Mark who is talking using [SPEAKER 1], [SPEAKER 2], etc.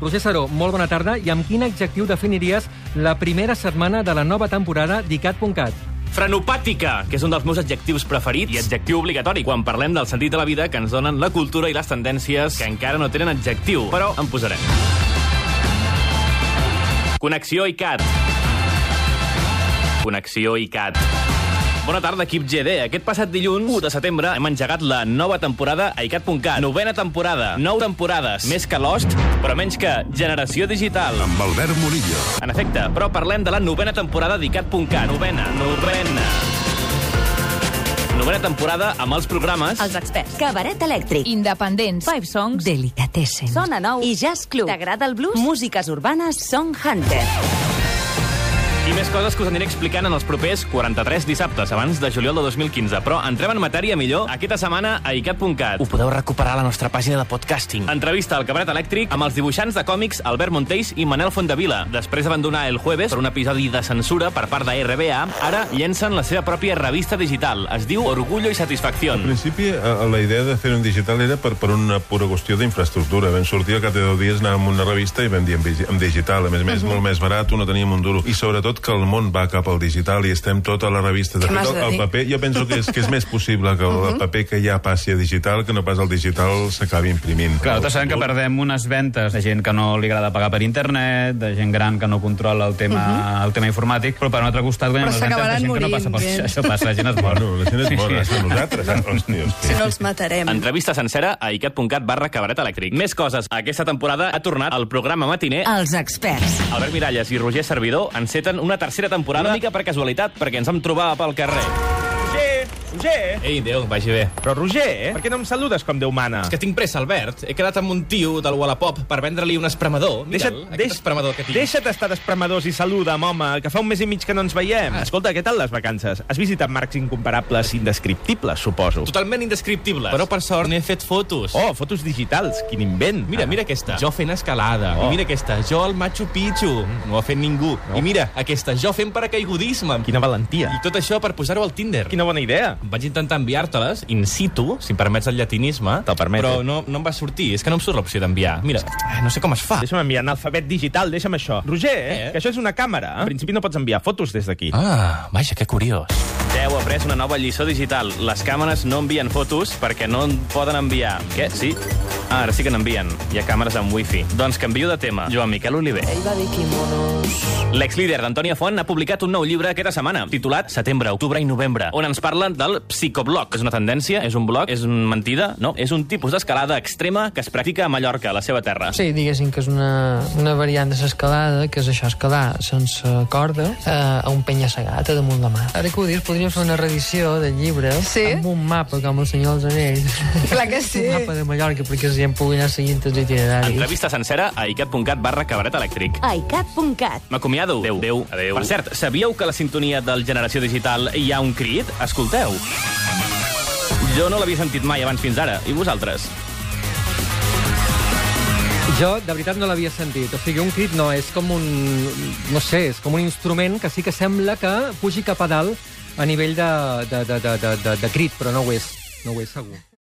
[SPEAKER 1] Roger Saró, molt bona tarda. I amb quin adjectiu definiries la primera setmana de la nova temporada d'ICAT.cat?
[SPEAKER 2] Frenopàtica, que és un dels meus adjectius preferits i adjectiu obligatori quan parlem del sentit de la vida que ens donen la cultura i les tendències que encara no tenen adjectiu, però en posarem. Connexió ICAT. Connexió ICAT. Bona tarda, equip GD. Aquest passat dilluns, 1 de setembre, hem engegat la nova temporada a iCat.cat. Novena temporada, nou temporades, més que Lost, però menys que Generació Digital.
[SPEAKER 3] Amb Albert Murillo.
[SPEAKER 2] En efecte, però parlem de la novena temporada d'ICAT.cat. Novena, novena. Novena temporada amb els programes...
[SPEAKER 4] Els experts.
[SPEAKER 5] Cabaret elèctric.
[SPEAKER 4] Independents. Five Songs.
[SPEAKER 5] Delicatessen.
[SPEAKER 4] Sona nou.
[SPEAKER 5] I Jazz Club.
[SPEAKER 4] T'agrada el blues?
[SPEAKER 5] Músiques urbanes Song Hunter.
[SPEAKER 2] I més coses que us aniré explicant en els propers 43 dissabtes, abans de juliol de 2015. Però entrem en matèria millor aquesta setmana a iCat.cat. Ho podeu recuperar a la nostra pàgina de podcasting. Entrevista al Cabaret Elèctric amb els dibuixants de còmics Albert Montells i Manel Fondavila. Després d'abandonar El Jueves per un episodi de censura per part de RBA, ara llencen la seva pròpia revista digital. Es diu Orgullo i Satisfacció.
[SPEAKER 6] En principi, a- la idea de hacer un digital era per, per una pura qüestió d'infraestructura. Vam sortir al cap de 10 dies, anàvem amb una revista i vam dir amb, vigi- amb digital. A més a més, molt més barat, no teníem un duro. I sobretot que el món va cap al digital i estem tota la revista. De
[SPEAKER 7] Què
[SPEAKER 6] fet,
[SPEAKER 7] m'has
[SPEAKER 6] el,
[SPEAKER 7] de
[SPEAKER 6] el
[SPEAKER 7] dir?
[SPEAKER 6] paper, jo penso que és, que és més possible que el, el paper que ja passi a digital que no pas el digital s'acabi imprimint.
[SPEAKER 8] Clar, nosaltres sabem que perdem unes ventes de gent que no li agrada pagar per internet, de gent gran que no controla el tema, el tema informàtic, però per un altre costat guanyem
[SPEAKER 7] Però
[SPEAKER 8] les ventes de
[SPEAKER 7] s'acabaran
[SPEAKER 8] gent que no
[SPEAKER 7] morint,
[SPEAKER 8] passa. Per...
[SPEAKER 7] gent.
[SPEAKER 8] Això passa, la gent es mor.
[SPEAKER 6] Bueno, la gent és bona, són nosaltres. eh? Hòstia, hòstia.
[SPEAKER 7] Si no els matarem.
[SPEAKER 2] Entrevista sencera a icat.cat barra cabaret elèctric. Més coses. Aquesta temporada ha tornat el programa matiner
[SPEAKER 5] Els experts.
[SPEAKER 2] Albert Miralles i Roger Servidor enceten una tercera temporada una mica per casualitat, perquè ens vam trobar pel carrer.
[SPEAKER 9] Roger, Roger,
[SPEAKER 2] Ei, Déu, vagi bé.
[SPEAKER 9] però Roger, per què no em saludes com Déu mana?
[SPEAKER 10] És que tinc pressa, Albert. He quedat amb un tio del Wallapop per vendre-li un espremador. Mira'l, aquest
[SPEAKER 9] deix-
[SPEAKER 10] espremador que tinc.
[SPEAKER 9] Deixa't estar d'espremadors i saluda'm, home, que fa un mes i mig que no ens
[SPEAKER 10] Ah.
[SPEAKER 9] veiem. Escolta, què tal les vacances? Has visitat marcs incomparables i indescriptibles, suposo.
[SPEAKER 10] Totalment indescriptibles. Però, per sort, n'he fet fotos.
[SPEAKER 9] Oh, fotos digitals, quin invent.
[SPEAKER 10] Mira, mira aquesta. Jo fent escalada.
[SPEAKER 9] Oh. Mm.
[SPEAKER 10] I mira aquesta. Jo al Machu Picchu. No ho ha fet ningú. I mira, aquesta. Jo fent paracaigudisme.
[SPEAKER 9] Quina valentia.
[SPEAKER 10] I tot això per posar-ho al Tinder.
[SPEAKER 9] Quina bona idea.
[SPEAKER 10] Vaig intentar enviar-te-les, in situ, si em permets el llatinisme.
[SPEAKER 9] Te'l permeto.
[SPEAKER 10] Però no, no em va sortir. És que no em surt l'opció d'enviar. Mira, eh, no sé com es fa.
[SPEAKER 9] Deixa'm enviar en alfabet digital, deixa'm això. Roger, eh?
[SPEAKER 10] Eh?
[SPEAKER 9] que això és una càmera. Eh? En principi no pots enviar fotos des d'aquí.
[SPEAKER 10] Ah, vaja, que curiós.
[SPEAKER 2] Déu ha pres una nova lliçó digital. Les càmeres no envien fotos perquè no en poden enviar. Què? Sí? Ah, ara sí que n'envien. Hi ha càmeres amb wifi. Doncs canvio de tema. Joan Miquel Oliver. L'ex-líder d'Antònia Font ha publicat un nou llibre aquesta setmana, titulat Setembre, Octubre i Novembre, on ens parlen del psicoblog. És una tendència? És un blog? És una mentida? No, és un tipus d'escalada extrema que es practica a Mallorca, la seva terra.
[SPEAKER 11] Sí, diguéssim que és una, una variant de l'escalada, que és això, escalar sense corda eh, a un penya-segat a damunt la mà. Ara que ho dius, podríem fer una reedició del llibre
[SPEAKER 7] Sí?
[SPEAKER 11] amb un mapa com el senyor dels anells.
[SPEAKER 7] Clar que sí.
[SPEAKER 11] Un mapa de Mallorca perquè la gent pugui anar seguint els itineraris.
[SPEAKER 2] Entrevista sencera a icat.cat barra cabaret elèctric.
[SPEAKER 5] iCat.cat.
[SPEAKER 2] M'acomiado. Adéu. Adéu. Adéu. Per cert, sabíeu que a la sintonia del Generació Digital hi ha un crit? Escolteu. Jo no l'havia sentit mai abans fins ara. I vosaltres?
[SPEAKER 1] Jo, de veritat, no l'havia sentit. O sigui, un crit no, és com un... No sé, és com un instrument que sí que sembla que pugi cap a dalt a nivell de, de, de, de, de, de, de crit, però no ho és. No ho és, segur.